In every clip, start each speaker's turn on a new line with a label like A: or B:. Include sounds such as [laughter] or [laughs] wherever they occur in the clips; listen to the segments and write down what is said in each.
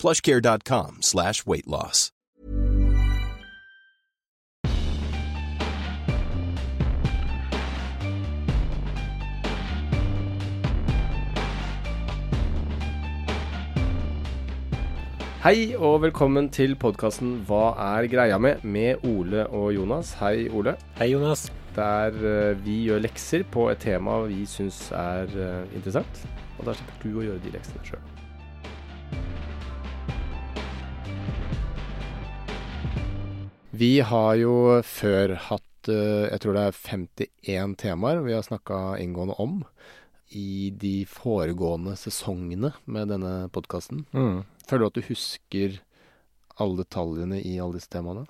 A: plushcare.com slash weight loss.
B: Hei og velkommen til podkasten Hva er greia med? med Ole og Jonas. Hei, Ole.
C: Hei, Jonas.
B: Der eh, vi gjør lekser på et tema vi syns er eh, interessant. Og der slipper du å gjøre de leksene sjøl. Vi har jo før hatt eh, jeg tror det er 51 temaer vi har snakka inngående om i de foregående sesongene med denne podkasten. Føler du at du husker alle detaljene i alle disse temaene?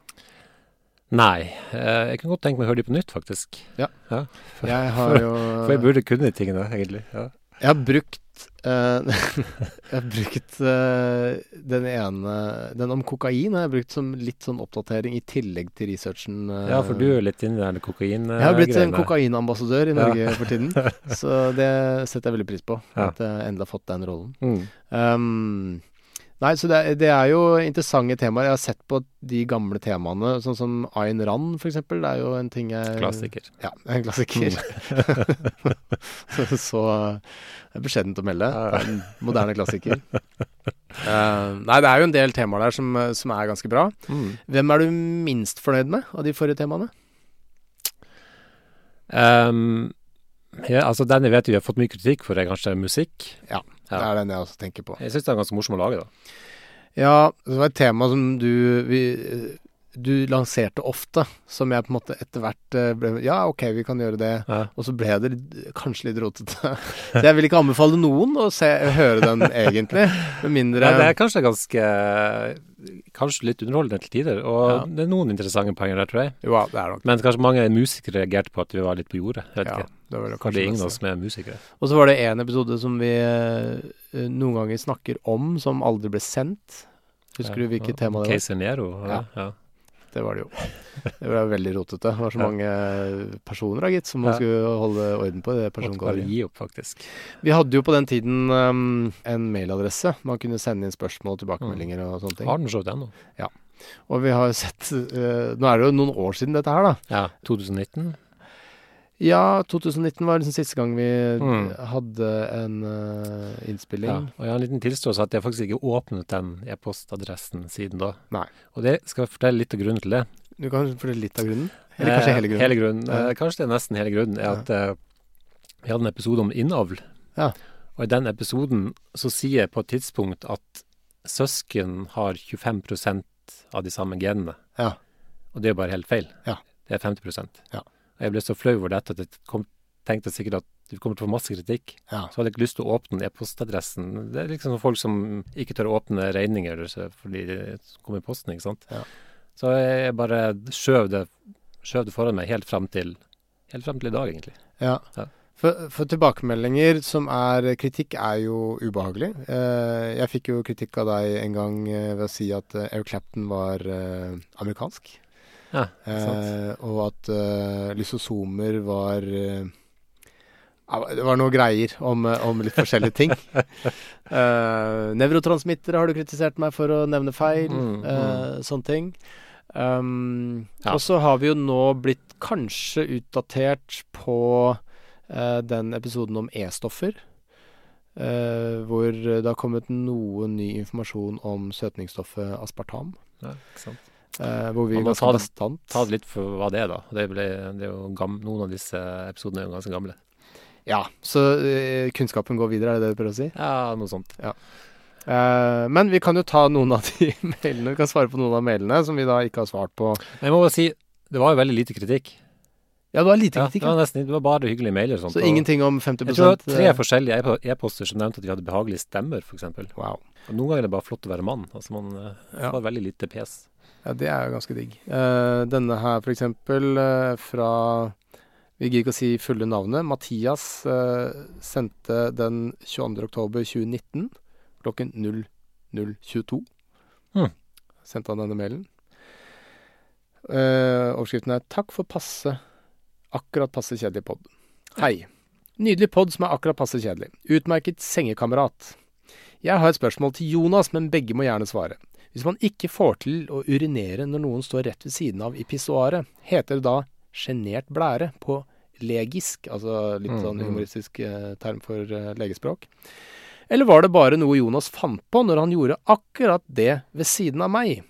C: Nei, eh, jeg kan godt tenke meg å høre de på nytt, faktisk.
B: Jeg har jo
C: For jeg burde kunne de tingene, egentlig. Ja.
B: Jeg har brukt eh, [laughs] Jeg har brukt eh, den ene Den om kokain har jeg brukt som litt sånn oppdatering i tillegg til researchen. eh.
C: ja, for du er jo litt inni den kokain-greiene.
B: Jeg har blitt en kokainambassadør i Norge for
C: [laughs]
B: tiden, så det setter jeg veldig pris på.
C: Ja.
B: At jeg endelig har fått den rollen.
C: Mm.
B: Um, nei, så det, er- det er jo interessante temaer. Jeg har sett på de gamle temaene, sånn som Ayn Rand f.eks. Det er jo en ting jeg
C: Klassiker.
B: Ja, en klassiker. [laughs] så, så det er beskjedent å melde. Det er en moderne klassiker. [laughs] Eh, nei, det er jo en del temaer der som, eh, som er ganske bra. Hvem er du minst fornøyd med av de forrige temaene?
C: Ehm, ja, altså, den jeg vet vi har fått mye kritikk for, er kanskje musikk. Ja.
B: Det er den jeg også tenker på.
C: Jeg syns det er ganske morsom å lage, da.
B: Ja, det var et tema som du vi, eh, du lanserte ofte, som jeg på en måte etter hvert eh, ble Ja, ok, vi kan gjøre det.
C: Ja.
B: Og så ble det litt- kanskje litt rotete. [laughs] Så jeg vil ikke anbefale noen å se, høre [laughs] den, egentlig. Med mindre
C: Nei, det er kanskje ganske Kanskje litt underholdende til tider. Og
B: Ja.
C: det er noen interessante poenger der, tror jeg.
B: Jo, ja, det er nok
C: Men kanskje mange musikere reagerte på at vi var litt på jordet. Jeg vet
B: Ja,
C: ikke.
B: det var vel
C: Kanskje det er
B: det
C: ingen av
B: beste.
C: oss som er musikere.
B: Og så var det en episode som vi eh, noen ganger snakker om, som aldri ble sendt. Husker du hvilket tema det var?
C: Keiser Nero. Ja. Ja.
B: Det var det jo. Det var veldig rotete. Det var så
C: Ja.
B: mange eh, personer da, gitt, som man
C: Ja.
B: skulle holde orden på. i det
C: Måtte bare
B: persongalleriet.
C: gi opp, faktisk.
B: Vi hadde jo på den tiden um, en mailadresse. Man kunne sende inn spørsmål, tilbakemeldinger og sånne ting.
C: Mm. Har den showet ennå?
B: Og vi har jo sett eh, Nå er det jo noen år siden dette her, da.
C: Ja. 2019?
B: Ja, 2019 var liksom siste gang vi
C: Mm.
B: hadde en eh, innspilling.
C: Ja. Og jeg har en liten tilståelse at jeg faktisk ikke åpnet den e-postadressen siden da.
B: Nei.
C: Og det skal jeg fortelle litt av grunnen til det.
B: Du kan fortelle litt av grunnen? Eller kanskje
C: Eh,
B: hele grunnen?
C: Hele grunnen.
B: Ja.
C: Eh, kanskje det er nesten hele grunnen, er at eh, vi hadde en episode om innavl.
B: Ja.
C: Og i den episoden så sier jeg på et tidspunkt at søsken har 25 av de samme genene.
B: Ja.
C: Og det er jo bare helt feil.
B: Ja.
C: Det er 50
B: Ja.
C: Og jeg ble så flau over dette at jeg kom, tenkte sikkert at du kommer til å få masse kritikk.
B: Ja.
C: Så hadde jeg ikke lyst til å åpne e-postadressen. Det er liksom folk som ikke tør å åpne regninger så- fordi det kommer i posten, ikke sant.
B: Ja.
C: Så jeg bare skjøv det, skjøv det foran meg helt frem til Helt frem til i dag, egentlig.
B: Ja.
C: Ja.
B: For, for tilbakemeldinger som er kritikk, er jo ubehagelig. Eh, jeg fikk jo kritikk av deg en gang eh, ved å si at eh, Eric Clapton var eh, amerikansk.
C: Ja, ikke sant?
B: Eh, og at eh, lysosomer var eh, ja, Det var noe greier om, eh, om litt forskjellige
C: [laughs]
B: ting. eh, nevrotransmittere har du kritisert meg for å nevne feil.
C: Mm,
B: eh, sånne ting. Um,
C: Ja.
B: Og så har vi jo nå blitt kanskje utdatert på eh, den episoden om E-stoffer. eh, hvor det har kommet noe ny informasjon om søtningsstoffet aspartam.
C: Ja, ikke sant?
B: eh, hvor vi
C: Man må
B: ganske
C: ta det-
B: bastant
C: Ta det litt for hva det er, da. Det ble, det er jo gam, noen av disse episodene er jo ganske gamle.
B: Ja, så eh, kunnskapen går videre, er det det du prøver å si?
C: Ja, noe sånt.
B: Eh, men vi kan jo ta noen av de [laughs] mailene, vi kan svare på noen av mailene som vi da ikke har svart på.
C: Men jeg må bare si, det var jo veldig lite kritikk.
B: Ja, det var lite
C: Ja,
B: kritikk.
C: det,
B: Ja,
C: var nesten, det var bare hyggelige mailer og sånt.
B: så
C: og
B: ingenting om eh, 50
C: Jeg tror det var tre forskjellige e- e-poster som nevnte at vi hadde behagelige stemmer, f.eks.
B: Wow.
C: Noen ganger er det bare flott å være mann. Altså man eh,
B: Ja.
C: har veldig lite pes.
B: Ja, det er jo ganske digg. Eh, denne her, for eksempel, eh, fra Vi gidder ikke å si fulle navnet. Mathias eh, sendte den 22. oktober 2019 klokken 00.22.
C: Hmm.
B: Sendte han denne mailen. Eh, overskriften er 'Takk for passe akkurat passe kjedelig pod'. Hei. Nydelig pod som er akkurat passe kjedelig. Utmerket sengekamerat. Jeg har et spørsmål til Jonas, men begge må gjerne svare. Hvis man ikke får til å urinere når noen står rett ved siden av i pissoaret, heter det da sjenert blære på legisk, altså litt
C: Mm,
B: sånn
C: mm.
B: humoristisk eh, term for eh, legespråk? Eller var det bare noe Jonas fant på når han gjorde akkurat det ved siden av meg?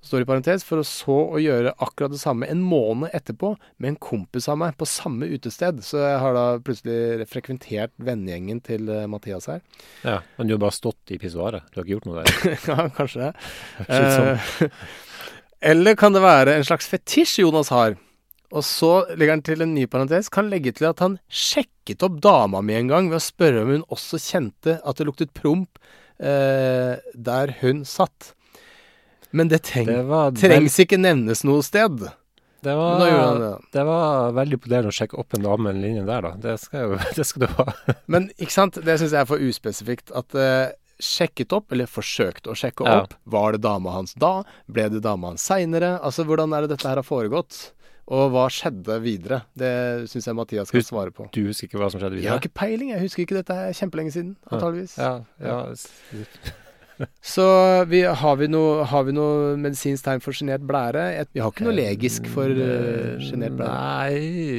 B: Står i parentes, for å så å gjøre akkurat det samme en måned etterpå med en kompis av meg på samme utested. Så jeg har da plutselig frekventert vennegjengen til eh, Mathias her.
C: Ja, Men du har bare stått i pissoaret. Du har ikke gjort noe der.
B: [laughs] Ja, kanskje det.
C: Slitsom.
B: Eh, [laughs] Eller kan det være en slags fetisj Jonas har? Og så legger han til en ny parentes. Kan legge til at han sjekket opp dama mi en gang ved å spørre om hun også kjente at det luktet promp eh, der hun satt. Men det treng,
C: Det Ah. var,
B: trengs ikke nevnes noe sted.
C: vel- det
B: Men da gjorde han
C: var,
B: det.
C: det var veldig imponerende å sjekke opp en dame i den linjen der, da. Det skal, jo, [laughs] det skal du ha.
B: Men ikke sant, det syns jeg er for uspesifikt. At eh, sjekket opp, eller forsøkt å sjekke
C: Ja.
B: opp, var det dama hans da? Ble det dama hans seinere? Altså, hvordan er det dette her har foregått? Og hva skjedde videre? Det syns jeg Mathias skal
C: Hus-
B: svare på.
C: Du husker ikke hva som skjedde
B: Jeg har
C: videre?
B: ikke peiling, jeg husker ikke dette her kjempelenge siden, antageligvis.
C: Ja, ja, s-
B: Så vi, har, vi noe, har vi noe medisinsk tegn for sjenert blære? Jeg- Vi har ikke noe
C: Eh,
B: legisk for uh, sjenert blære.
C: Nei,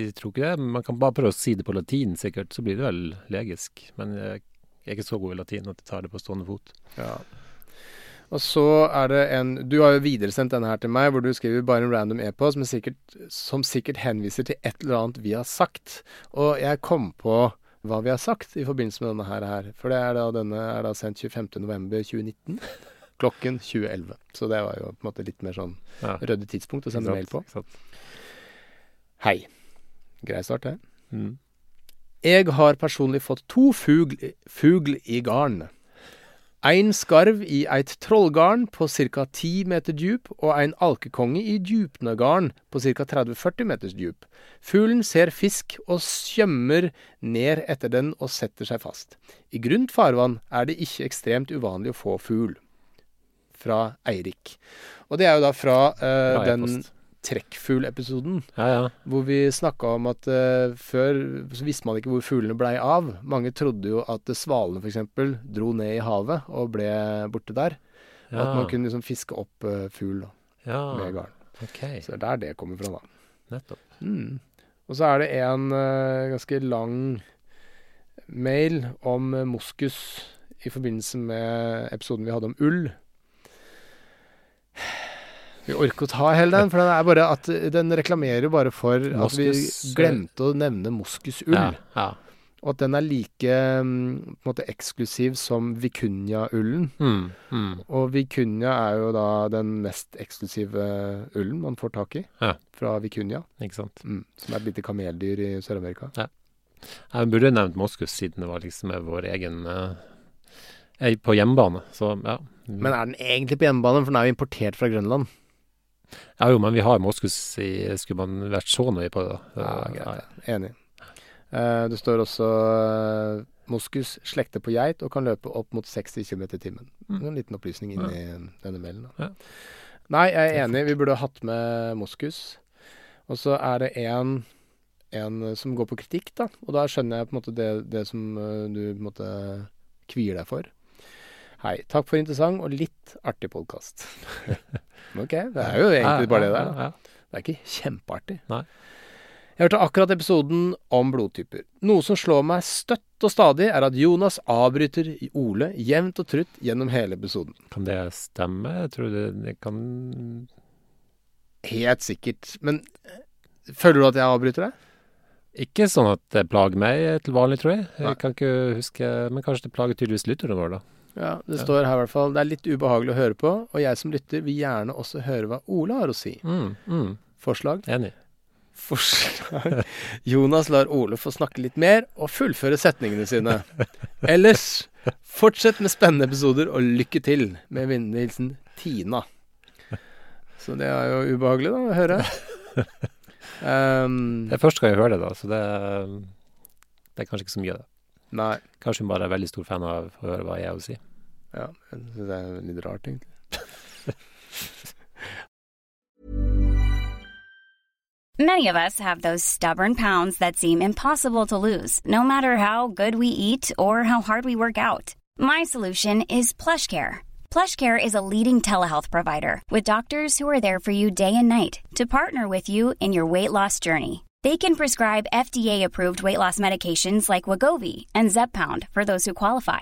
C: jeg tror ikke det. Man kan bare prøve å si det på latin, sikkert. Så blir det vel legisk. Men jeg er ikke så god i latin at jeg tar det på stående fot.
B: Ja. Og så er det en Du har jo videresendt denne her til meg, hvor du skriver bare en random e-post men sikkert, som sikkert henviser til et eller annet vi har sagt. Og jeg kom på hva vi har sagt i forbindelse med denne her. her. For det er da, denne er da sendt 25.11.2019 klokken 2011. Så det var jo på en måte litt mer sånn
C: Ja.
B: ryddig tidspunkt å
C: Ikke
B: sende
C: sant,
B: mail på.
C: ikke sant.
B: Hei. Grei start, det.
C: Mm.
B: Jeg har personlig fått to fugl, fugl i garn. Ein skarv i eit trollgarn på ca. 10 meter djup, og ein alkekonge i djupnegarn på ca. 30-40 meters djup. Fuglen ser fisk og skjemmer ned etter den og setter seg fast. I grunt farvann er det ikke ekstremt uvanlig å få fugl. Fra Eirik. Og det er jo da fra eh,
C: Bra
B: den
C: e-post.
B: trekkfuglepisoden.
C: Ja, ja.
B: Hvor vi snakka om at eh, før så visste man ikke hvor fuglene blei av. Mange trodde jo at eh, svalene f.eks. dro ned i havet og ble borte der. Og
C: ja. Ah.
B: at man kunne liksom fiske opp eh, fugl da, med
C: Ja,
B: garn.
C: ok.
B: Så det er der det kommer fra, da.
C: Nettopp.
B: Mm. Og så er det en eh, ganske lang mail om eh, moskus i forbindelse med episoden vi hadde om ull. Vi orker å ta hele den, for den er bare at eh, den reklamerer jo bare for at vi
C: Moskus- eh,
B: glemte å nevne moskusull.
C: Ja, ja.
B: Og at den er like mm, på en måte eksklusiv som vikunja-ullen.
C: Mm, mm.
B: Og vikunja er jo da den mest eksklusive eh, ullen man får tak i
C: Ja.
B: fra vikunja,
C: Ikke sant.
B: mm, som er et lite kameldyr i Sør-Amerika.
C: Jeg burde nevnt Moskus, siden det var liksom vår egen eh, eh, På hjemmebane, så ja.
B: Men er den egentlig på hjemmebane, for den er jo importert fra Grønland?
C: ja. Jo, men vi har Moskus i Skulle man vært så nøye på det, da?
B: Ja,
C: Eh,
B: greit. Enig. Eh, det står også eh, moskus slekter på geit og kan løpe opp mot 60 km i timen.
C: Mm.
B: En liten opplysning inni denne mailen. Da.
C: Ja.
B: Nei, jeg er enig. Vi burde ha hatt med moskus. Og så er det en, en eh, som går på kritikk, da. Og da skjønner jeg på en måte det, det som eh, du på en måte kvier deg for. Hei. Takk for interessant og litt artig podkast. [laughs] ok. Det er jo egentlig bare det der. da.
C: Ja, ja,
B: Det er ikke kjempeartig.
C: Nei.
B: Jeg hørte akkurat episoden om blodtyper. Noe som slår meg støtt Godt og stadig er at Jonas avbryter Ole jevnt og trutt gjennom hele episoden.
C: Kan det stemme? Jeg tror det, det kan
B: Helt sikkert. Men eh, føler du at jeg avbryter deg?
C: Ikke sånn at det plager meg til vanlig, tror jeg.
B: Nei.
C: Jeg kan ikke huske Men kanskje det plager tydeligvis lytterne våre, da.
B: Ja, det står her i hvert fall. Det er litt ubehagelig å høre på, og jeg som lytter vil gjerne også høre hva Ole har å si.
C: Mm, mm,
B: Forslag?
C: enig.
B: Forslag. Jonas lar Ole få snakke litt mer og fullføre setningene sine. Ellers, fortsett med spennende episoder og lykke til med vennhilsen Tina. Så det er jo ubehagelig da å høre. Ehm,
C: Det er første gang jeg hører det, da, så det, det er kanskje ikke så mye av det.
B: nei.
C: Kanskje hun bare er veldig stor fan av å høre hva jeg har å si.
B: Ja, jeg synes det er litt rart, egentlig.
D: Many of us have those stubborn pounds that seem impossible to lose, no matter how good we eat or how hard we work out. My solution is PlushCare. PlushCare is a leading telehealth provider with doctors who are there for you day and night to partner with you in your weight loss journey. They can prescribe FDA-approved weight loss medications like Wagovi and Zepbound for those who qualify.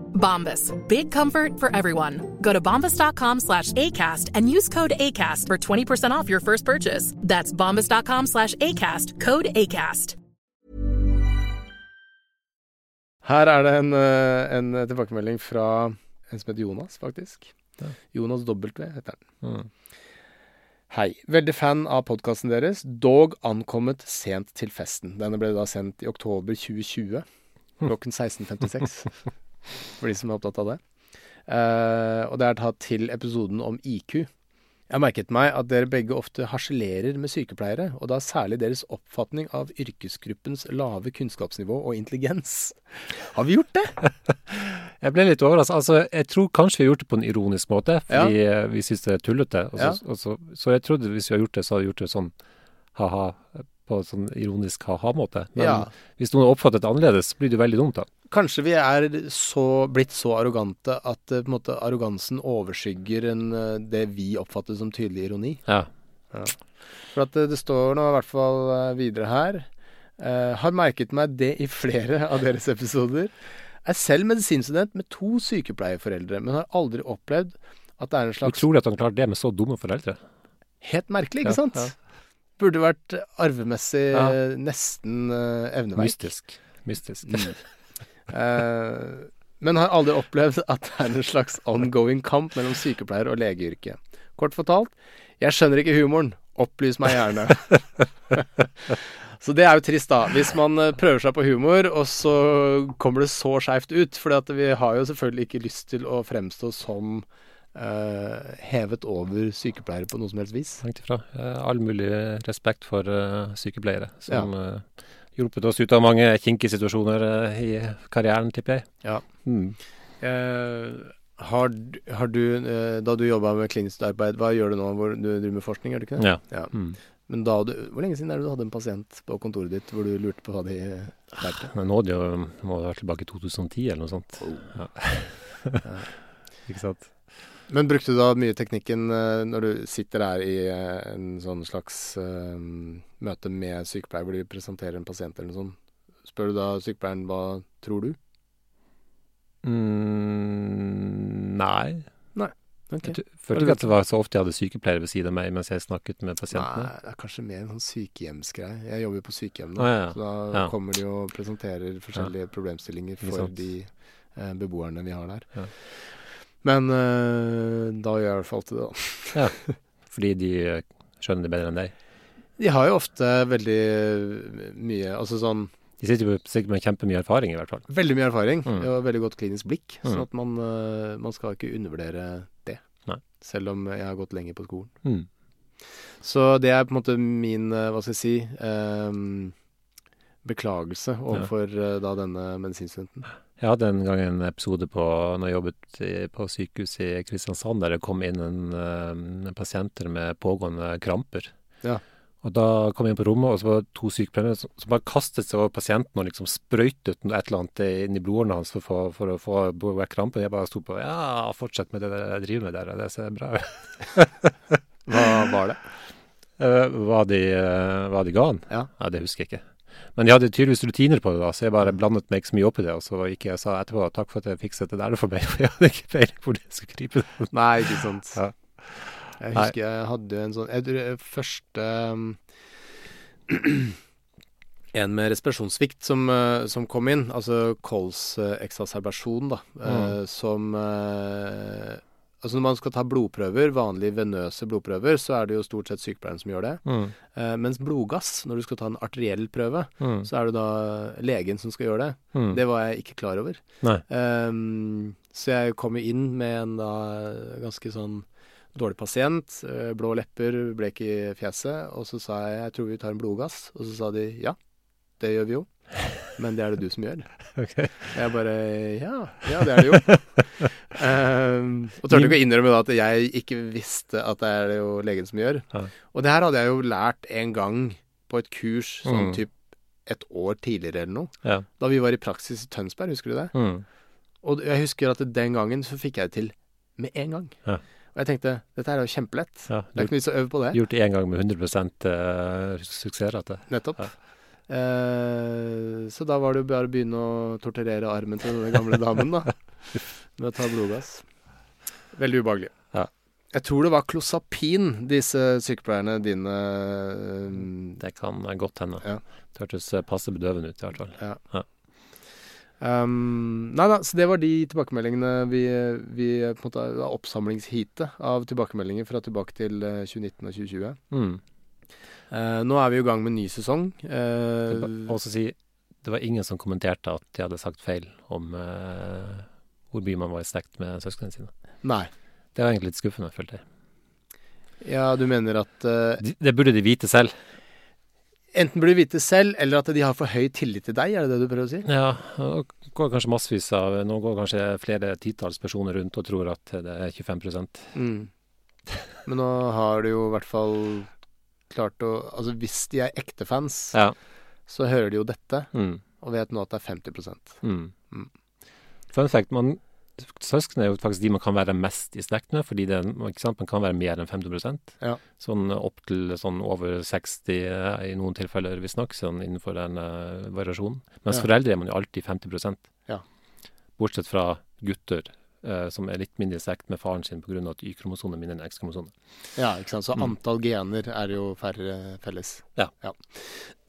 E: Bombas. Big comfort for everyone. Go to bombas.com slash ACAST and use code ACAST for 20% off your first purchase. That's bombas.com slash ACAST. Code ACAST.
B: Her er det en, eh, en tilbakemelding fra en som heter Jonas, faktisk.
C: Ja.
B: Jonas W heter han.
C: Mm.
B: Hei. Veldig fan av podkasten deres, dog ankommet sent til festen. Denne ble da sendt i oktober 2020
C: Hm.
B: klokken
C: [laughs]
B: 16.56, for de som er opptatt av det. Eh, og det er tatt til episoden om IQ. Jeg merket meg at dere begge ofte harselerer med sykepleiere, og da særlig deres oppfatning av yrkesgruppens lave kunnskapsnivå og intelligens. Har vi gjort det?
C: Jeg ble litt overrasket. Altså, jeg tror kanskje vi har gjort det på en ironisk måte, fordi eh, vi syns det er tullete. Og så, og så, så jeg trodde hvis vi hadde gjort det, så hadde vi gjort det sånn ha-ha, på en sånn ironisk ha-ha-måte. Men
B: Ja.
C: hvis noen har oppfattet det annerledes, blir det jo veldig dumt, da.
B: Kanskje vi er så, blitt så arrogante at eh, på en måte, arrogansen overskygger en, eh, det vi oppfatter som tydelig ironi.
C: Ja.
B: For at eh, det står nå i hvert fall eh, videre her eh, Har merket meg det i flere av deres episoder. Er selv medisinstudent med to sykepleierforeldre, men har aldri opplevd at det er en slags
C: Utrolig at han klarte det med så dumme foreldre.
B: Helt merkelig,
C: Ja,
B: ikke sant?
C: ja.
B: Burde vært arvemessig
C: Ja.
B: eh, nesten uh, evneverk.
C: Mystisk. Mystisk.
B: Eh, men har aldri opplevd at det er en slags ongoing kamp mellom sykepleier og legeyrket. Kort fortalt, jeg skjønner ikke humoren. Opplys meg gjerne. så det er jo trist, da. Hvis man eh, prøver seg på humor, og så kommer det så skeivt ut. For vi har jo selvfølgelig ikke lyst til å fremstå som eh, hevet over sykepleiere på noe som helst vis.
C: [laughs] Langt ifra. Eh, All mulig respekt for eh, sykepleiere, som eh, hjulpet oss ut av mange kinkige situasjoner eh, i karrieren, tipper jeg.
B: Ja.
C: Mm.
B: Eh, har, d- har du, eh, da du jobba med klinisk arbeid, hva gjør du nå? Hvor du driver med forskning, gjør du ikke det?
C: Ja.
B: Ja.
C: Mm.
B: Men da du, hvor lenge siden er det du hadde en pasient på kontoret ditt hvor du lurte på hva de lærte?
C: Men nå er det jo, må det være tilbake i 2010 eller noe sånt. Ja. [laughs] Ikke sant?
B: Men brukte du da mye teknikken eh, når du sitter der i eh, en sånn slags eh, møte med sykepleier hvor de presenterer en pasient eller noe sånt? Spør du da sykepleieren hva tror du?
C: Mm, nei. Jeg
B: Okay.
C: tu- følte ikke at det var så ofte jeg hadde sykepleiere ved siden av meg mens jeg snakket med
B: Nei,
C: pasientene.
B: det er kanskje mer en sånn sykehjemsgreie. Jeg jobber jo på sykehjem nå,
C: Å, ja, ja.
B: så da
C: Ja.
B: kommer de og presenterer forskjellige problemstillinger
C: Ikke
B: for
C: sant.
B: de eh, beboerne vi har der.
C: Ja.
B: Men eh, da gjør jeg i hvert fall alltid det, da.
C: Fordi de eh, skjønner det bedre enn deg.
B: De har jo ofte veldig mye Altså sånn
C: De sitter jo sikkert med kjempemye erfaring, i hvert fall.
B: Veldig mye erfaring
C: Mm.
B: og veldig godt klinisk blikk. Sånn
C: Mm.
B: at man, eh, man skal ikke undervurdere det.
C: Nei.
B: Selv om jeg har gått lenger på skolen.
C: Mm.
B: Så det er på en måte min eh, Hva skal jeg si eh, beklagelse overfor eh, da denne medisinstudenten.
C: Jeg hadde en gang en episode på, når jeg jobbet i- på sykehus i Kristiansand, der det kom inn en, eh, en pasienter med pågående kramper. [laughs]
B: Ja.
C: Og da kom jeg inn på rommet, og så var det to sykepleiere som, som bare kastet seg over pasienten og liksom sprøytet noe- et eller annet inn i blodårene hans for, å få- for å få bort krampen. Jeg bare sto på ja, fortsett med det dere driver med der, det ser bra ut. [laughs]
B: Hva var det?
C: Eh, Hva de, eh, hva de ga han?
B: Ja.
C: det husker jeg ikke. Men de hadde tydeligvis rutiner på det, da, så jeg bare blandet meg ikke så mye opp i det. Og så gikk jeg og sa etterpå takk for at jeg fikset det der for meg, [laughs] for jeg hadde ikke peiling hvor jeg skulle gripe det.
B: Nei, ikke sant.
C: Ja.
B: Jeg
C: Nei.
B: husker jeg hadde en sånn jeg, tror, eh, Første um, [clears throat] En med respirasjonssvikt som, eh, som kom inn, altså kols eh, eksacerbasjon, da,
C: Mm.
B: eh, som eh, Altså Når man skal ta blodprøver, vanlige venøse blodprøver, så er det jo stort sett sykepleieren som gjør det.
C: Mm.
B: Eh, mens blodgass, når du skal ta en arteriell prøve, så er det da legen som skal gjøre det.
C: Mm.
B: Det var jeg ikke klar over.
C: Nei.
B: Ehm, så jeg kom jo inn med en da ganske sånn dårlig pasient, eh, blå lepper, blek i fjeset, og så sa jeg jeg tror vi tar en blodgass, og så sa de ja, det gjør vi jo, men det er det du som gjør.
C: [laughs] Ok.
B: Jeg bare ja, ja det er det [laughs] jo. Ehm, og tørte ikke å innrømme da at jeg ikke visste at det er det jo legen som gjør.
C: Ja.
B: Og det her hadde jeg jo lært en gang på et kurs sånn
C: Mm.
B: typ et år tidligere eller noe.
C: Ja.
B: Da vi var i praksis i Tønsberg, husker du det?
C: Mm.
B: Og jeg husker at den gangen så fikk jeg det til med en gang.
C: Ja.
B: Og jeg tenkte dette her er jo kjempelett.
C: ja.
B: Det er ikke noe vits å øve på det.
C: Gjort det én gang med 100 eh, suksessrate.
B: Nettopp.
C: Ja.
B: Eh, så da var det jo bare å begynne å torturere armen til den gamle damen,
C: [laughs]
B: da. Med å ta blodgass. Veldig ubehagelig.
C: Ja.
B: Jeg tror det var klosapin disse sykepleierne dine eh,
C: Det kan godt hende.
B: Ja.
C: Det hørtes eh, passe bedøvende ut i hvert fall.
B: Um, nei da, så det var de tilbakemeldingene vi, vi på en måte det var Oppsamlingsheatet av tilbakemeldinger fra tilbake til eh, 2019 og 2020.
C: Mm.
B: Eh, nå er vi i gang med en ny sesong. Eh,
C: Jeg vil også si det var ingen som kommenterte at de hadde sagt feil om eh, hvor mye man var i slekt med søsknene sine.
B: nei.
C: Det var egentlig litt skuffende, følte jeg.
B: Ja, du mener at eh,
C: De- Det burde de vite selv.
B: enten burde du vite selv, eller at de har for høy tillit til deg, er det det du prøver å si?
C: Ja, og går kanskje massevis av Nå går kanskje flere titalls personer rundt og tror at det er 25
B: Mm. Men nå har du jo i hvert fall klart å Altså hvis de er ekte fans,
C: Ja.
B: så hører de jo dette,
C: Mm,
B: og vet nå at det er 50
C: mm.
B: Mm.
C: Fun fact, man, søsken er jo faktisk de man kan være mest i slekt med, fordi det, er- ikke sant, man kan være mer enn 50
B: Ja.
C: Sånn opp til sånn over 60 eh, i noen tilfeller, visstnok, sånn innenfor den eh, variasjonen. Mens
B: Ja.
C: foreldre er man jo alltid 50
B: Ja.
C: Bortsett fra gutter. eh, Som er litt mindre i slekt med faren sin pga. at Y-kromosonen er mindre enn X-kromosonen.
B: Ja, ikke sant. Så
C: Mm.
B: antall gener er jo færre felles.
C: Ja.
B: [clears throat]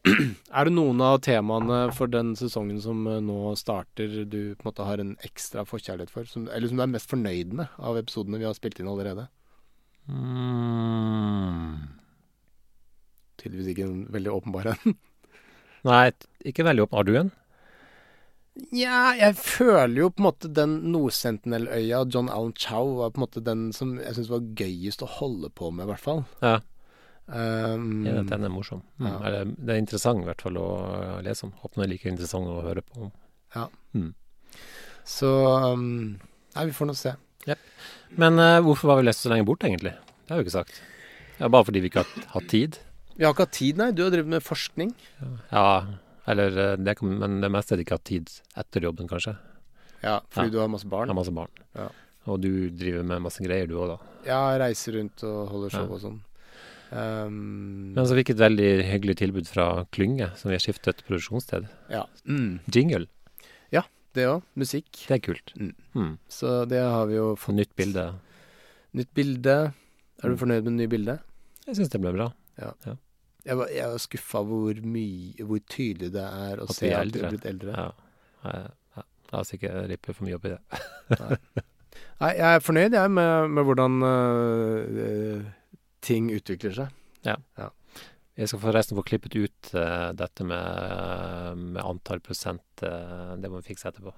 B: Er det noen av temaene for den sesongen som eh, nå starter, du på en måte har en ekstra forkjærlighet for? Som, eller som du er mest fornøyd med av episodene vi har spilt inn allerede? Mm. Tydeligvis ikke en veldig åpenbar en. [laughs]
C: Nei, t- ikke veldig åpen. Har du en?
B: Nja, jeg føler jo på en måte den Nordsentinelløya, John Allen Chow, var på en måte den som jeg syns var gøyest å holde på med, i hvert fall.
C: Ja.
B: Um,
C: Jeg vet den er morsom. Mm.
B: Ja.
C: Eller, det er interessant i hvert fall å eh, lese om. Håper den er like interessant å høre på.
B: Så um, Nei, vi får nå se.
C: Men eh, hvorfor var vi lest så lenge bort, egentlig? Det har vi ikke sagt. Ja, bare fordi vi ikke har hatt tid.
B: Vi har ikke hatt tid, nei. Du har drevet med forskning.
C: Ja, eller eh, det kan, Men det meste er det ikke har hatt tid etter jobben, kanskje.
B: Ja, fordi
C: Ja.
B: du har masse
C: Jeg
B: barn.
C: har masse barn.
B: Ja.
C: Og du driver med masse greier, du òg, da.
B: Ja, reiser rundt og holder show
C: Ja.
B: og sånn. Um,
C: Men så fikk jeg et veldig hyggelig tilbud fra Klynge, som vi har skiftet produksjonssted.
B: ja. Mm.
C: Jingle,
B: Det òg. Musikk.
C: det er kult.
B: Mm.
C: Mm.
B: Så det har vi jo
C: Få
B: fått.
C: nytt bilde.
B: Nytt bilde. Er
C: Mm.
B: du fornøyd med det nye bildet?
C: Jeg syns det ble bra.
B: Jeg var, jeg var skuffa hvor mye Hvor tydelig det er å
C: At
B: se
C: vi er
B: at vi
C: eldre.
B: er blitt eldre.
C: Ja. Eh, ja. La oss ikke rippe for mye opp i det.
B: Nei, jeg er fornøyd, jeg, med, med hvordan øh, øh, ting utvikler seg.
C: Jeg skal forresten få klippet ut eh, dette med, eh, med antall prosent. eh, det må vi fikse etterpå.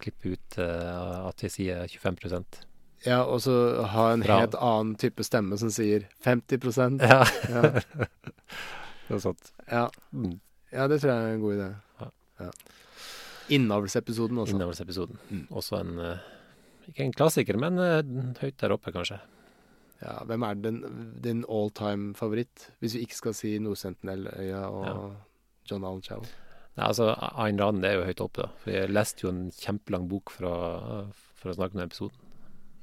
C: Klippe ut eh, at vi sier 25 prosent.
B: Ja, og så ha en
C: Bra.
B: helt annen type stemme som sier 50
C: [laughs] Ja,
B: Ja.
C: noe sånt.
B: ja.
C: Mm.
B: Eh, Ja, det tror jeg er en god idé.
C: Ja.
B: Ja. Innavlsepisoden også.
C: Innavlsepisoden. altså. Også en eh, Ikke en klassiker, men eh, høyt der oppe, kanskje.
B: Ja, hvem er den, din all time favoritt? Hvis vi ikke skal si Nordsentineløya og
C: Ja.
B: John Allen Chowell.
C: Nei, altså, Ayn Rand er jo høyt oppe, da. For jeg leste jo en kjempelang bok for å, for å snakke om den episoden.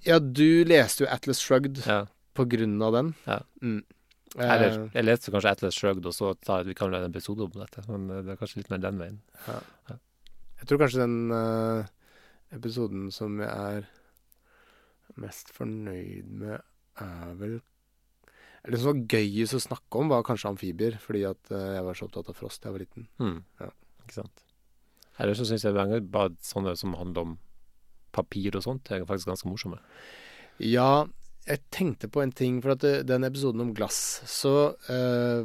B: Ja, du leste jo Atlas Shrugged
C: Ja.
B: på grunn av den.
C: Ja.
B: Mm.
C: Eller
B: Eh,
C: jeg leste kanskje Atlas Shrugged, og så sa jeg at vi kan lage en episode om dette. Men eh, det er kanskje litt mer den veien.
B: jeg tror kanskje den eh, episoden som jeg er mest fornøyd med, er vel Eller Det som var gøyest å snakke om, var kanskje amfibier, fordi at eh, jeg var så opptatt av frost da jeg var liten. Ja.
C: Ikke sant. Eller så syns jeg mange bare sånne som handler om papir og sånt, er faktisk ganske morsomme.
B: Ja, jeg tenkte på en ting, for at eh, den episoden om glass, så eh,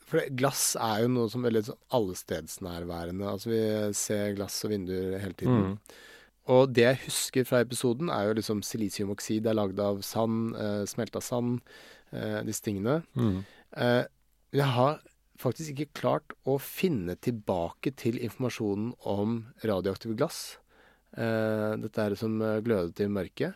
B: For det- glass er jo noe som er veldig sånn allestedsnærværende. Altså vi ser glass og vinduer hele tiden. Og det jeg husker fra episoden, er jo liksom silisiumoksid er lagd av sand, eh, smelta sand, eh, disse tingene. Eh, jeg har faktisk ikke klart å finne tilbake til informasjonen om radioaktive glass. Eh, dette er det som eh, glødet i mørket.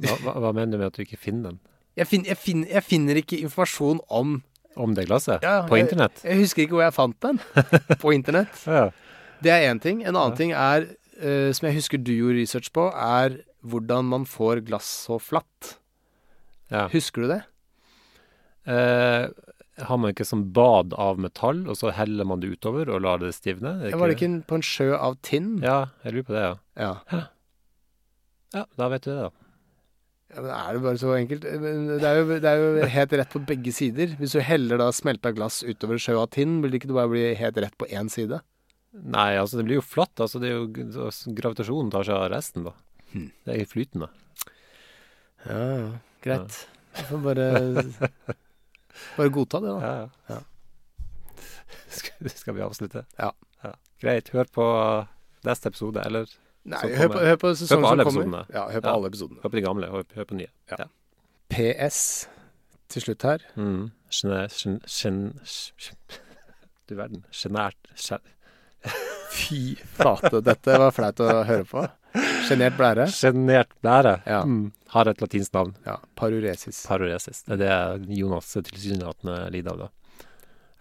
C: Hva, hva, hva mener du med at du ikke finner den?
B: Jeg, fin, jeg, fin, jeg finner ikke informasjon om
C: Om det glasset?
B: Ja,
C: på
B: jeg-
C: internett?
B: Jeg husker ikke hvor jeg fant
C: [laughs]
B: den på internett.
C: Ja.
B: Det er én ting. En annen ting er, eh, som jeg husker du gjorde research på, er hvordan man får glass så flatt.
C: Ja.
B: Husker du det?
C: Eh, har man ikke sånn bad av metall, og så heller man det utover og lar det stivne? Er
B: Var det ikke en- på en sjø av tinn?
C: Ja, jeg lurer på det, ja.
B: Ja.
C: Ja, Da vet du det, da.
B: Ja, men er det bare så enkelt? Eh, Men Det er, jo, det er jo helt rett på begge sider. Hvis du heller da smelta glass utover sjø av tinn, vil det ikke bare bli helt rett på én side?
C: Nei, altså det blir jo flatt. altså det er jo g- så Gravitasjonen tar seg av resten, da.
B: Hmm.
C: Det er flytende.
B: Ja, ja. Greit. Jeg får
C: [laughs]
B: bare, bare godta det, da.
C: Ja, ja. [laughs] Skal, skal vi avslutte?
B: Ja.
C: ja. Greit. Hør på neste episode, eller
B: Nei,
C: som
B: hør på,
C: kommer.
B: hør på sesongen
C: alle
B: som kommer.
C: episodene.
B: Ja, hør på
C: Ja.
B: alle episodene.
C: hør på de gamle, hør, hør på nye.
B: Ja. PS til slutt her.
C: Mm. Sjenæ- sjen- sjen- sj- sj- [laughs] Du verden. Sjenært. sje-
B: Fy flate, dette var flaut å høre på. Sjenert blære.
C: Sjenert blære.
B: Ja.
C: Mm. Har et latinsk navn.
B: Ja, paruresis.
C: Paroresis. Det er det Jonas tilsynelatende lider av, da.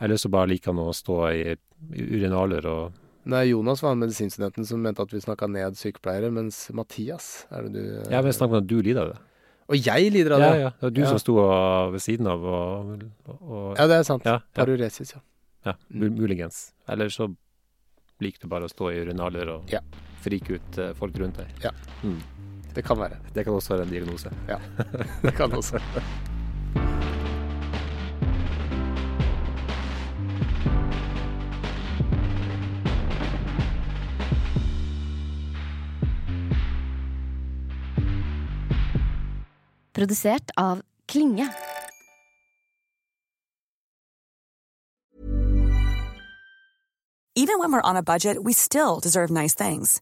C: Eller så bare liker han å stå i urinaler og
B: Nei, Jonas var han medisinstudenten som mente at vi snakka ned sykepleiere, mens Mathias er det du
C: Ja, men snakk om at du lider av det.
B: Og jeg lider av det!
C: Ja, ja. Det var du
B: Ja.
C: som sto og- ved siden av og, og
B: Ja, det er sant.
C: Ja, ja.
B: Paruresis, ja.
C: Ja, mul- muligens. Eller så liker du bare å stå i urinaler og
B: Ja.
C: frike ut eh, folk rundt deg.
B: Det kan være.
C: Det kan også være en diagnose. [laughs]
B: Ja. Det kan også.
F: Produsert av Klinge.
G: Even when we're on a budget, we still deserve nice things.